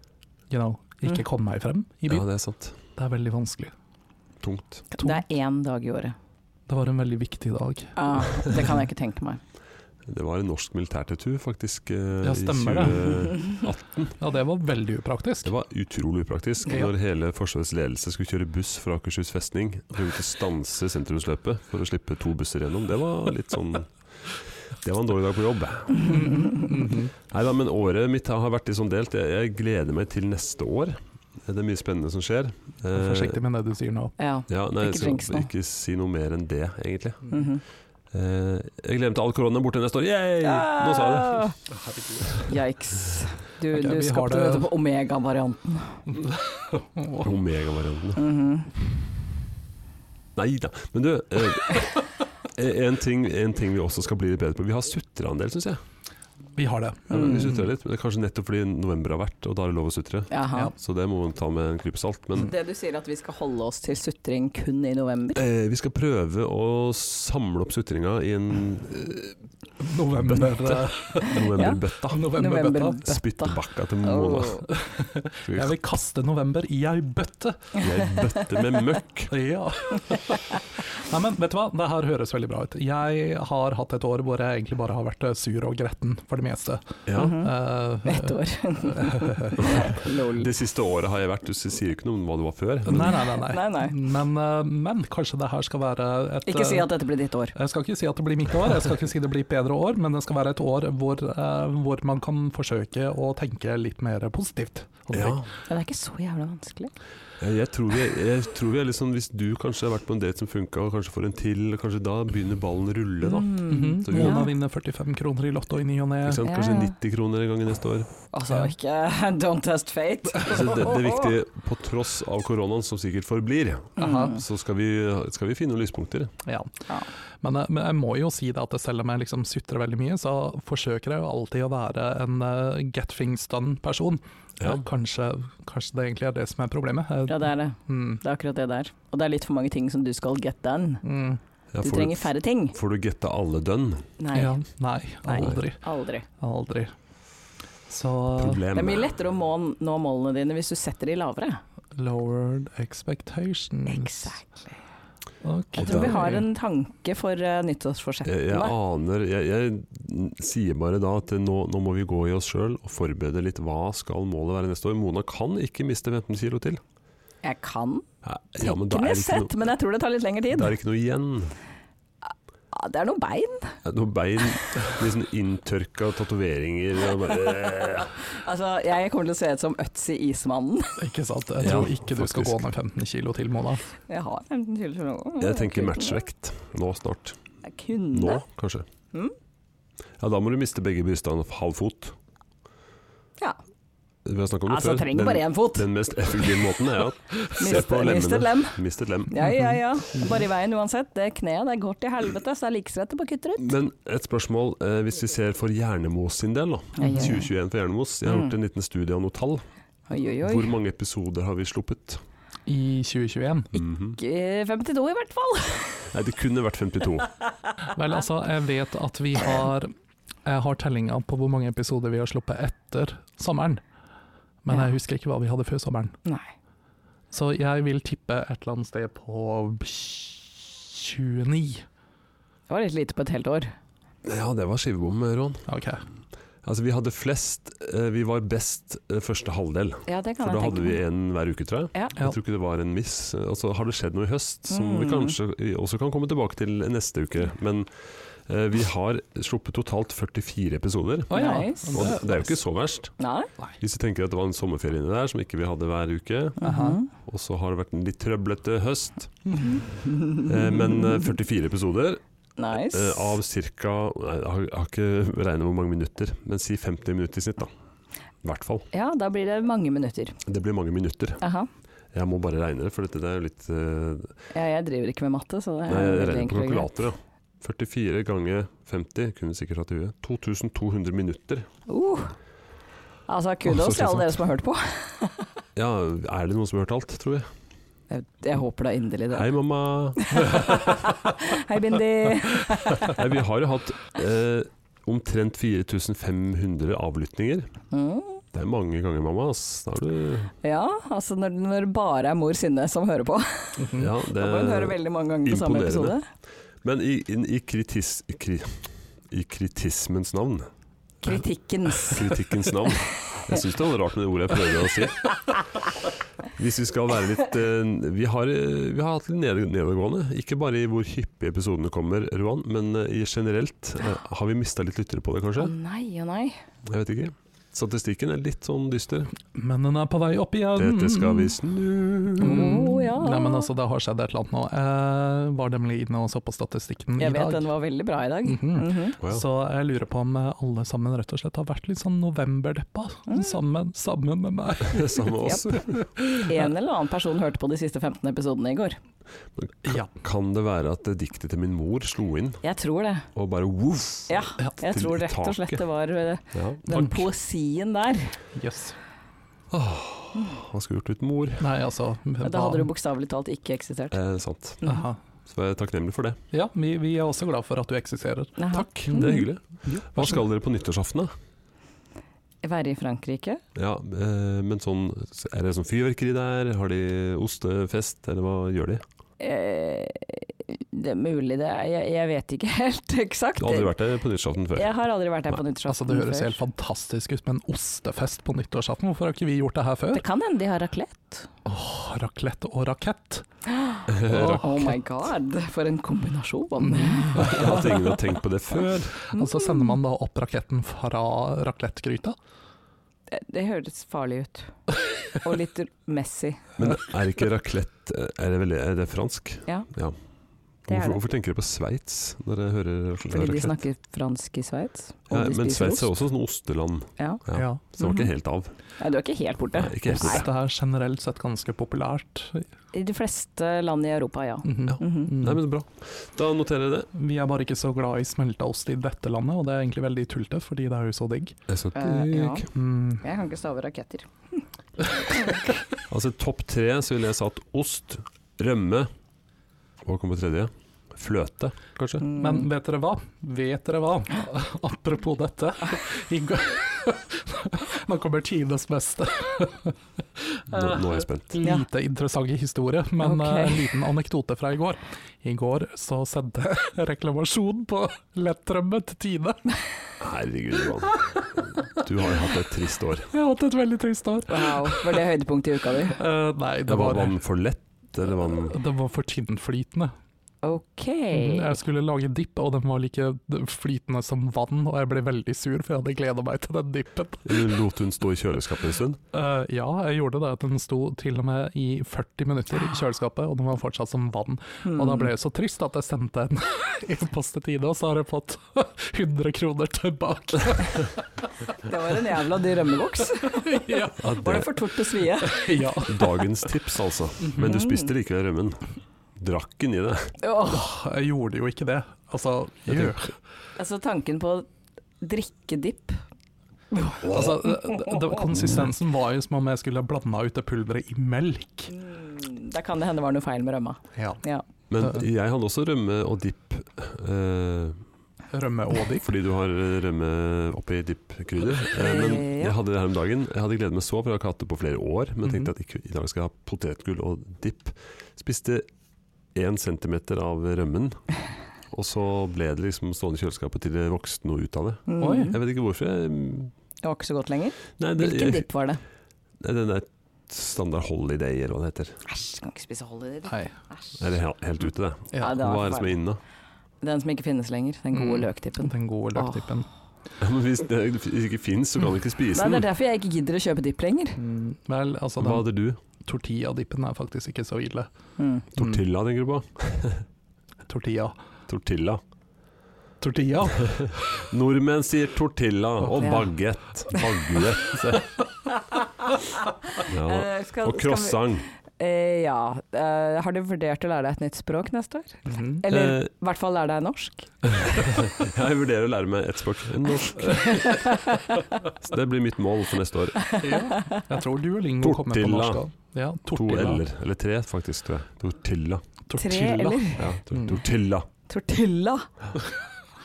you know, ikke Mm. komme meg frem i Ja, byen. det er sant. Det er veldig vanskelig. Tungt. To. Det er én dag i året. Det var en veldig viktig dag. Ja, det kan jeg ikke tenke meg. Det var en norsk militærtattoo, faktisk. eh, Ja, i stemmer 20... det. Ja, det var veldig upraktisk. Det var utrolig upraktisk Ja. når hele Forsvarets ledelse skulle kjøre buss fra Akershus festning. Og vi måtte stanse sentrumsløpet for å slippe to busser gjennom. Det var litt sånn Det var en dårlig dag på jobb. Mhm. Nei da, men året mitt har vært litt sånn delt. Jeg, jeg gleder meg til neste år. Det er mye spennende som skjer. Eh, Forsiktig med det du sier nå. Ja. ja, nei, Ikke jeg drinks skal nå. ikke si noe mer enn det, egentlig. Mhm. Eh, jeg gleder meg til all korona er borte neste år. Yay! Nå sa jeg det. Yikes. Du, Ok, vi du har skapte det- dette på omega-varianten. Omega-varianten. Mhm. Nei da. Men du, eh, en, ting, en ting vi også skal bli litt bedre på. Vi har sutra en del, syns jeg. Vi har det. Ja, men Mm. vi sutrer litt, men det er kanskje nettopp fordi november har vært, og da er det lov å sutre. Jaha. Ja. Så det må man ta med en klype salt. Men Så det du sier at vi skal holde oss til sutring kun i november? eh, vi skal prøve å samle opp sutringa i en eh, November, novemberbøtta. novemberbøtta. November. Spyttbakka til Mona. Åh. Skal Jeg vi vil kaste november i ei bøtte! kaste ei bøtte med møkk. Ja. Nei, men vet du hva, det her høres veldig bra ut. Jeg har hatt et år hvor jeg egentlig bare har vært eh, sur og gretten, for det meste. Ja. Mhm. Eh, Et år. Lol. Det siste året har jeg vært Du sier ikke noe om hva du var før. eh, Nei, nei, nei. nei. Nei, nei. Men, eh, men kanskje det her skal være et Ikke si eh, at dette blir ditt år. Jeg skal ikke si at det blir mitt år, jeg skal ikke si det blir et bedre år, men det skal være et år hvor, eh, hvor man kan forsøke å tenke litt mer positivt. om Ja. ting. Ja, det er ikke så jævla vanskelig. Jeg jeg tror vi, jeg tror vi er litt sånn Hvis du kanskje har vært på en date som funka, og kanskje får en til, og kanskje da begynner ballen å rulle, da. Mm. Så vi- Mona Ja. vinner 45 kroner i Lotto i ny og ne. Ikke sant? Ja, Kanskje ja. 90 kroner en gang i neste år. Altså, ikke Don't test fate. Så det, det er viktig, på tross av koronaen, som sikkert forblir, Mm. Aha. så skal vi, skal vi finne noen lyspunkter. Ja. Ja. Men, eh, men jeg må jo si det at selv om jeg liksom sutrer veldig mye, så forsøker jeg jo alltid å være en eh, get things done-person. Ja. Og Kanskje, kanskje det egentlig er det som er problemet. Jeg- Ja, det er det. Mm. Det er akkurat det der. Og det er litt for mange ting som du skal get done. Mm. Ja, Du får, trenger færre ting. får du getta alle dønn? Nei, Ja. Nei, Nei. aldri. aldri. Aldri. Så Problem. Det er mye lettere å må- nå målene dine hvis du setter de lavere. lowered expectations. Ok. Jeg tror vi har en tanke for eh, nyttårsforsettene. Jeg, jeg aner jeg, jeg sier bare da at nå, nå må vi gå i oss sjøl og forberede litt hva skal målet være neste år. Mona kan ikke miste 15 kilo til. Jeg kan Ja, ja, men da er tenkende det ikke sett, noe, men jeg tror det tar litt lengre tid. da er det ikke noe igjen. Ja, Det er noen bein. Det er Noen bein, litt sånn inntørka tatoveringer og bare Altså, jeg kommer til å se ut som Øtzi Ismannen. Ikke sant. Jeg Ja, tror ikke du skal faktisk. gå ned 15 kilo til, Mona. Jeg har 15 kilo til nå. Jeg tenker matchvekt nå snart. Jeg kunne. Nå, kanskje. Mm. Ja, da må du miste begge brystene og halv fot. Ja. Vi har snakket om det Altså, før. trenger den, bare én fot. den mest effektive måten er at se Mist- på Mist lemmene. et lem. Mist et lem. Ja, ja, ja. Bare i veien uansett. Det kneet det går til helvete, så det er like strett å bare kutte det ut. Men et spørsmål, eh, hvis vi ser for Hjernemos sin del, da. Ja, ja, ja. 2021 for Hjernemos. Jeg har gjort en liten studie av noen tall. Mm. Oi, oi, oi. Hvor mange episoder har vi sluppet? I 2021. Mhm. Ikke 52 Eh, i hvert fall. Nei, det kunne vært 52. Vel, altså, jeg vet at vi har Jeg har tellinga på hvor mange episoder vi har sluppet etter sommeren. Men Ja. jeg husker ikke hva vi hadde før sommeren. Nei. Så jeg vil tippe et eller annet sted på 29. Det var litt lite på et helt år. Ja, det var skivebom, eh, Ron. Ok. Altså, vi hadde flest, eh, vi var best eh, første halvdel. Ja, det kan For da jeg hadde tenke vi meg. en hver uke, tror jeg. Ja. Ja. Jeg tror ikke det var en Altså, miss. Og så har det skjedd noe i høst som vi Mm. kanskje også kan komme tilbake til neste uke. Men Eh, Vi har sluppet totalt 44 episoder. Å ja. Nice. Og det er jo ikke så verst. Nei? Hvis vi tenker at det var en sommerferie inni der som ikke vi hadde hver uke, Mhm. Aha. og så har det vært en litt trøblete høst, Mhm. Eh, men eh, 44 episoder Nice. eh, av ca. Jeg har jeg har ikke regnet hvor mange minutter, men si 50 minutter i snitt, da. I hvert fall. Ja, da blir det mange minutter. Det blir mange minutter. Aha. Jeg må bare regne det, for dette det er jo litt eh, Ja, jeg driver ikke med matte, så det er Nei, jeg regner veldig på enkelt og greit. kalkulator, ja. 44 ganger 50, kunne sikkert hatt i huet. 2200 minutter. Uh. Altså, Å, kudos så til alle slitsomt. dere som har hørt på. Ja, er det noen som har hørt alt, tror jeg. Jeg, jeg håper da inderlig det. Hei, mamma. Hei, Bindi. Nei, vi har jo hatt eh, omtrent 4500 avlyttinger. Mm. Det er mange ganger, mamma. ass. Da er du Ja, altså når, når det bare er mor Synne som hører på. Mhm. ja, Da må hun høre det, veldig mange ganger på samme episode. imponerende. Men i, i, i, kritis, i, kri, i kritismens navn Kritikkens. Kritikkens navn. Jeg syns det var rart med det ordet jeg prøvde å si. Hvis vi skal være litt eh, Vi har, eh, vi har hatt litt ned- nedadgående. Ikke bare i hvor hyppig episodene kommer, Roan, men eh, i generelt. eh, Har vi mista litt lyttere på det, Å kanskje? nei, å nei. Jeg vet ikke. Statistikken er litt sånn dyster. Men den er på vei opp igjen. Dette skal vi snu Mm. Å, ja. Nei, men altså, det har skjedd et eller annet nå. Jeg var nemlig inne og så på statistikken Jeg i dag. vet den var veldig bra i dag. Mhm. Mhm. Å ja. Så jeg lurer på om alle sammen rett og slett har vært litt sånn novemberdeppa Mm. sammen, sammen med meg. Sammen med oss. En eller annen person hørte på de siste 15 episodene i går. Ja. Kan det være at det diktet til min mor slo inn, Jeg tror det. og bare voff? Ja, Ja, jeg til tror rett og taket. slett det var eh, Ja. den Takk. poesien der. Yes. Hva skulle jeg gjort uten mor? Nei, altså Da hadde du bokstavelig talt ikke eksistert. Eh, sant. Aha. Så jeg er takknemlig for det. Ja, vi, vi er også glad for at du eksisterer. Aha. Takk. Det er hyggelig. Ja, Hva vær så god. skal dere på nyttårsaften, da? Være i Frankrike? Ja, eh, men sånn Er det sånn fyrverkeri der? Har de ostefest, eller hva gjør de? Eh, det er mulig det er Jeg, jeg vet ikke helt eksakt. Du har aldri vært der på nyttårsaften før? Jeg har aldri vært der på nyttårsaften Altså, det høres før. helt fantastisk ut med en ostefest på nyttårsaften. Hvorfor har ikke vi gjort det her før? Det kan hende de har raclette. Raclette og rakett. Oh my god, for en kombinasjon. Mm. At ingen har tenkt på det før? Og så sender man da opp raketten fra raclette-gryta. Det, det høres farlig ut. Og litt messy. Men er ikke raclette Er det, vel, er det fransk? Ja. Det er Hvorfor, det. hvorfor tenker dere på Sveits når dere hører Fordi de raclette? snakker fransk i Sveits. Og Ja, de men spiser Sveits er ost. Mhm. også sånn osteland, Ja. Ja. så det var ikke helt av. Nei, du er ikke helt borte. Nei, ikke helt Nei. av. Ost er generelt sett ganske populært. I de fleste land i Europa, ja. Mhm. Ja. Mhm. Nei, men bra. Da noterer jeg det. Vi er bare ikke så glad i smelta ost i dette landet, og det er egentlig veldig tullete, fordi det er jo så digg. Jeg skal Eh, ja. ikke- Mm. Jeg kan ikke stave raketter. Altså topp tre så ville jeg satt ost, rømme Hva kom på tredje? Fløte, kanskje? Mm. Men vet dere hva? Vet dere hva? Apropos dette. I går Nå kommer tidenes beste. Nå, nå er jeg spent. Ja. Lite interessant historie, men Ok. eh, en liten anekdote fra i går. I går så sendte jeg reklamasjon på lettrømme til Tine. Herregud, Johan. Du har jo hatt et trist år. Jeg har hatt et veldig trist år. Wow, var det høydepunktet i uka di? Eh, nei, det Det var var, vann for lett, eller vann det var for tynnflytende. Ok. Mm, Jeg skulle lage dipp, og den var like flytende som vann, og jeg ble veldig sur, for jeg hadde gleda meg til den dippen. Lot hun stå i kjøleskapet en stund? Eh, ja, jeg gjorde det. Den sto til og med i 40 minutter i kjøleskapet, og den var fortsatt som vann. Og da ble jeg så trist at jeg sendte en e-post til Tide, og så har jeg fått 100 kroner tilbake. Det var en jævla dyr rømmeboks. ja. Ja, Var det det for tort å svie? ja. er dagens tips, altså. Men du spiste likevel rømmen. Drakk den i det. Åh, Jeg gjorde jo ikke det. Altså, Jeg jø. altså tanken på drikkedipp altså det, det, konsistensen var jo som om jeg skulle blanda ut det pulveret i melk. mm, Da kan det hende det var noe feil med rømma. Ja. Ja. Men jeg hadde også rømme og dipp. eh, Rømme og dipp. Fordi du har rømme oppi dippkrydder. Eh, Men Ja. jeg hadde det her om dagen. Jeg hadde gledet meg så, for jeg har ikke hatt det på flere år. Men tenkte at ikke, i dag skal jeg ha potetgull og dipp. Spiste én centimeter av rømmen. Og så ble det liksom stående i kjøleskapet til det vokste noe ut av det. Mm. Oi. Jeg vet ikke hvorfor. Jeg, mm, Det var ikke så godt lenger. nei, det, Hvilken jeg, dipp var det? nei, den der standard holiday, eller hva det heter. Æsj, kan ikke spise hold i det. Nei. Er det er helt ute, det? Ja. Ja, det Hva var er det som er forferdelig. inne? Den som ikke finnes lenger. Den gode Mm. løktippen. Den gode løktippen. Men hvis det ikke fins, så kan du ikke spise Nei, det den. er derfor jeg ikke gidder å kjøpe dipp lenger. Mm, Vel, altså Hva den hadde du? tortilladippen er faktisk ikke så ille. Mm. Tortilla, tenker du på? Mm, tortilla. Tortilla. Tortilla? Nordmenn sier tortilla og Ja. bagett. Baguett. Ja. Eh, skal- Og croissant. skal vi- eh, ja. Eh, har du vurdert å lære deg et nytt språk neste år? Mhm. Eller Eh. i hvert fall lære deg norsk? Jeg vurderer å lære meg ett språk. Norsk. Så det blir mitt mål for neste år. ja. Jeg tror Duolingo kommer på Tortilla. norsk. da. Ja, To tortilla. l-er. Eller tre, faktisk. Tror jeg. Tortilla. Tre, Tortilla. eller? Ja, tor Mm. tortilla. Tortilla!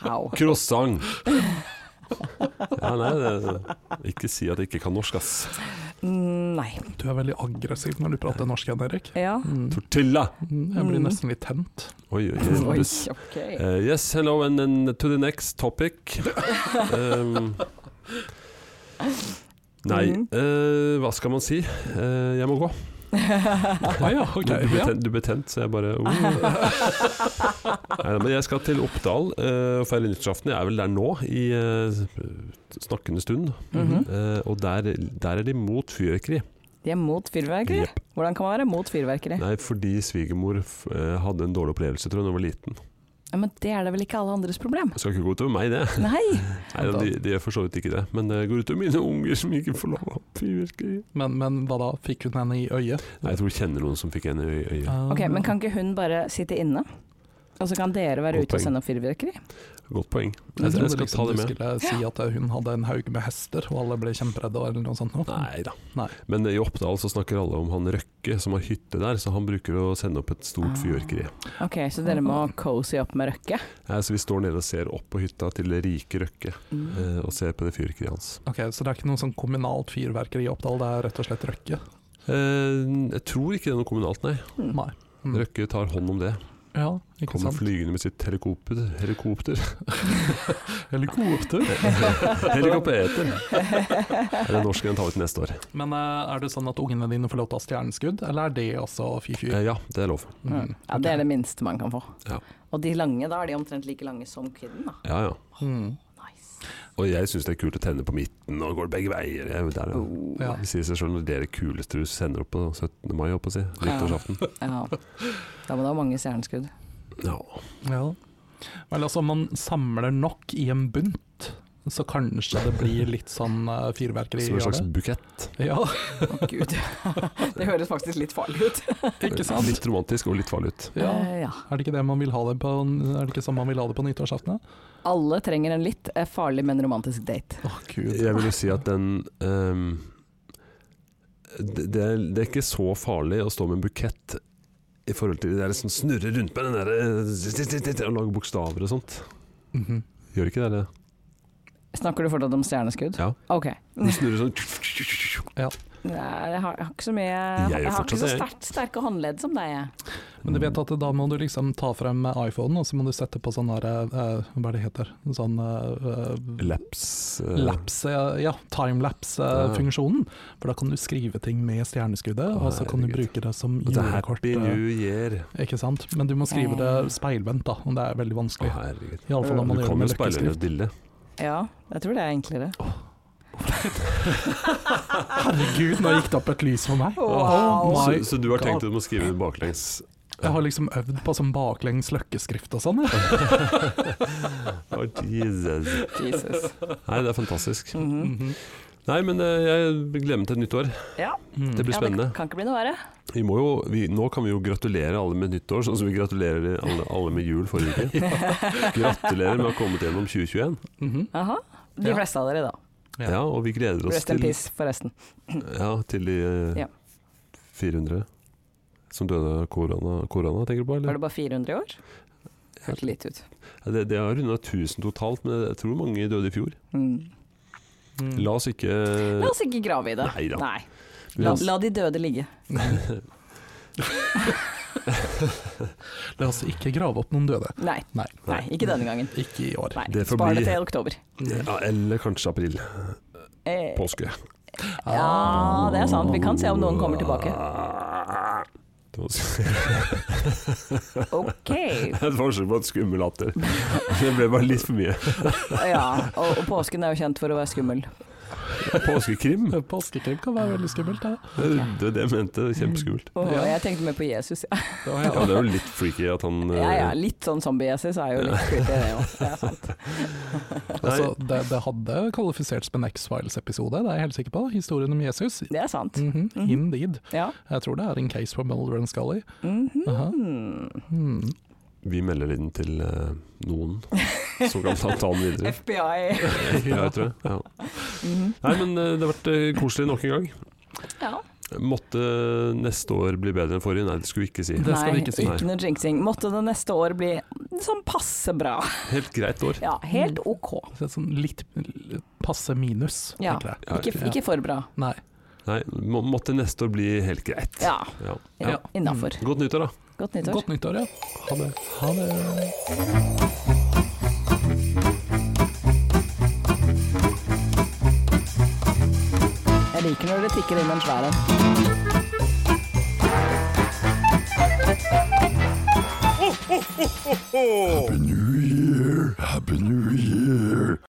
Au. Croissant. Ja, nei, det, ikke si at jeg ikke kan norsk, ass. Mm, Nei. Du er veldig aggressiv når du prater norsk, Jan Erik. Ja. Mm. Tortilla! Mm, Jeg blir Mm. nesten litt tent. Oi, oi, oi. Oi, buss. ok. Eh, yes, hello and then to the next topic. Um, nei, Mhm. eh, hva skal man si? Eh, jeg må gå. Ah, ja, ok. Du, du, ble Ja. tent, du ble tent, så jeg bare oh. Neida, Men jeg skal til Oppdal, eh, og Feirinjaften. Jeg er vel der nå, i eh, snakkende stund. Mhm. Eh, og der, der er de mot fyrverkeri. De er mot fyrverkeri. Jepp. Hvordan kan man være mot fyrverkeri? Nei, fordi svigermor f eh, hadde en dårlig opplevelse tror jeg, da hun var liten. Ja, men det er da vel ikke alle andres problem? Det skal ikke gå utover meg, det. Nei! Nei, da, de, de gjør for så vidt ikke det. Men det går utover mine unger som ikke får lov å ha fyrverkeri. Men, men hva da? Fikk hun henne i øyet? Nei, jeg tror jeg kjenner noen som fikk en i øy- øyet. Ah. Ok, Men kan ikke hun bare sitte inne? Og så kan dere være Godt ute og poeng. sende opp fyrverkeri? Godt poeng. Jeg Jeg tror trodde jeg skal ta liksom det du med. skulle si at hun hadde en haug med hester, og alle ble kjemperedde eller noe sånt. nå. Nei da. Nei. Men eh, i Oppdal så snakker alle om han Røkke som har hytte der, så han bruker å sende opp et Ah. stort fyrverkeri. Ok, Så dere må cozy opp med Røkke? Nei, så vi står nede og ser opp på hytta til det rike Røkke Mhm. eh, og ser på det fyrverkeriet hans. Ok, Så det er ikke noe sånn kommunalt fyrverkeri i Oppdal, det er rett og slett Røkke? Eh, jeg tror ikke det er noe kommunalt, nei. Mm. Nei. Mm. Røkke tar hånd om det. Ja, ikke Kommer sant? flygende med sitt helikopter. Helikopter. Helikopter. Helikopter. Er det norsk den tar vi til neste år? Men eh, er det sånn at ungene dine får lov til å ha stjerneskudd, eller er det også fy-fyr? Eh, ja, det er lov. Mm. Ja, Det er det minste man kan få. Ja. Og de lange, da er de omtrent like lange som kidden. da. Ja, ja. Mm. Nice. Og jeg syns det er kult å tenne på midten, og går det begge veier. Jeg, der, ja. Oh, Ja. Det sier seg sjøl når dere kuleste du sender opp på 17. mai, holdt på å si. Nyttårsaften. Ja. Da må du ha mange stjerneskudd. Ja. ja. Vel, altså, om man samler nok i en bunt, så kanskje det blir litt sånn eh, fyrverkeri Som en av slags det. bukett. Ja, Å gud. Det høres faktisk litt farlig ut. ikke sant? Litt romantisk og litt farlig ut. Ja. Eh, ja. Er det ikke det man vil ha det på, er det ikke sånn man vil ha det på nyttårsaften? da? Alle trenger en litt eh, farlig, men romantisk date. Å, gud. Jeg vil jo si at den ehm, det, det, er, det er ikke så farlig å stå med en bukett i forhold til det der som snurrer rundt med den der eh, og lager bokstaver og sånt. Mhm. Gjør ikke det det? Snakker du fortsatt om stjerneskudd? Ja. Ok. Du snurrer sånn Nei, jeg har, jeg har ikke så mye Jeg, Jeg gjør har ikke fortsatt så det, jeg. sterkt, sterke håndledd som deg. jeg. Men du vet at da må du liksom ta frem iPhonen, og så må du sette på sånn der, eh, hva er det heter, sånn eh, eh, Laps. eh, lapse, ja, timelapse-funksjonen. For da kan du skrive ting med stjerneskuddet, Ah. Å, og så kan du herregud. bruke det som Og det er julekort. happy eh, new year. Ikke sant? Men du må skrive Eh. det speilvendt, da, og det er veldig Å, vanskelig. herregud. I alle fall om Du man gjør det kan jo med speile inn løkkeskrift. et bilde. Ja, jeg tror det er enklere. Herregud, nå gikk det opp et lys for meg! Wow. Oh Så, my så du har tenkt God. at du må skrive det baklengs? Jeg har liksom øvd på sånn baklengs løkkeskrift og sånn. jeg. Å, Jesus. Jesus. Nei, det er fantastisk. Mhm. Mhm. Nei, men eh, jeg glemmer til nytt år. Ja, Mm. Det blir ja, det spennende. kan ikke bli noe verre. Vi må jo, vi, nå kan vi jo gratulere alle med nyttår, sånn som vi gratulerer alle, alle med jul forrige uke. Gratulerer med å ha kommet gjennom 2021. Mhm. Aha. De Ja. fleste av dere, da. Ja. Ja, og vi gleder oss Rest in til, peace, forresten. ja, til de eh, Ja. 400 som døde av korona, korona, tenker du på? Var Eller? det bare 400 i år? Hørte lite ut. Ja, Det, det har runda 1000 totalt, men jeg tror mange døde i fjor. Mm. Mm. La oss ikke La oss ikke grave i det. Eh, Nei da. Nei. La La, oss- la de døde ligge. La oss ikke grave opp noen døde. Nei. Nei. Nei, ikke denne gangen. Ikke i år. Nei. Det får Spar bli- det til oktober. ja, Eller kanskje april. Eh, Påske. Ah. ja, det er sant. Vi kan se om noen kommer tilbake. Det var sk- Ok. Et forsøk på en skummel latter. Det ble bare litt for mye. Ja, og, og påsken er jo kjent for å være skummel. Påskekrim? Påskekrim kan være veldig skummelt. Ja. Det det var det jeg mente. Kjempeskummelt. Og Ja. jeg tenkte mer på Jesus. Ja, Ja, det er jo litt freaky at han eh, ja, ja litt sånn zombie-Jesus er jo litt kult, det òg. Det er sant. Altså, det, det hadde kvalifisert som en X-Files-episode, det er jeg helt sikker på. Historien om Jesus. Det er sant. Mhm, Mhm. Indeed. Ja. Jeg tror det er en case for Mulder and Scully. Mhm. Aha. Hmm. Vi melder inn til eh, noen som kan ta ta den videre. FBI. Ja, jeg tror det. Ja. Mhm. Nei, men eh, det har vært eh, koselig nok en gang. Ja. Måtte eh, neste år bli bedre enn forrige? Nei, det skulle vi ikke si. Det skal vi ikke si. Nei, ikke noe jinxing. Måtte det neste år bli sånn passe bra. Helt greit år. Ja, Mm. helt ok. Så et sånn litt litt passe minus, Ja. tenker jeg. Ikke, ikke for bra. Nei. Nei, må, måtte neste år bli helt greit. Ja, Ja. Ja. Mm. innafor. Godt nyttår, da. Godt nyttår. Godt nyttår, ja. Ha det. Ha det. Jeg liker når det tikker inn en svær en. Happy New Year! Happy New Year!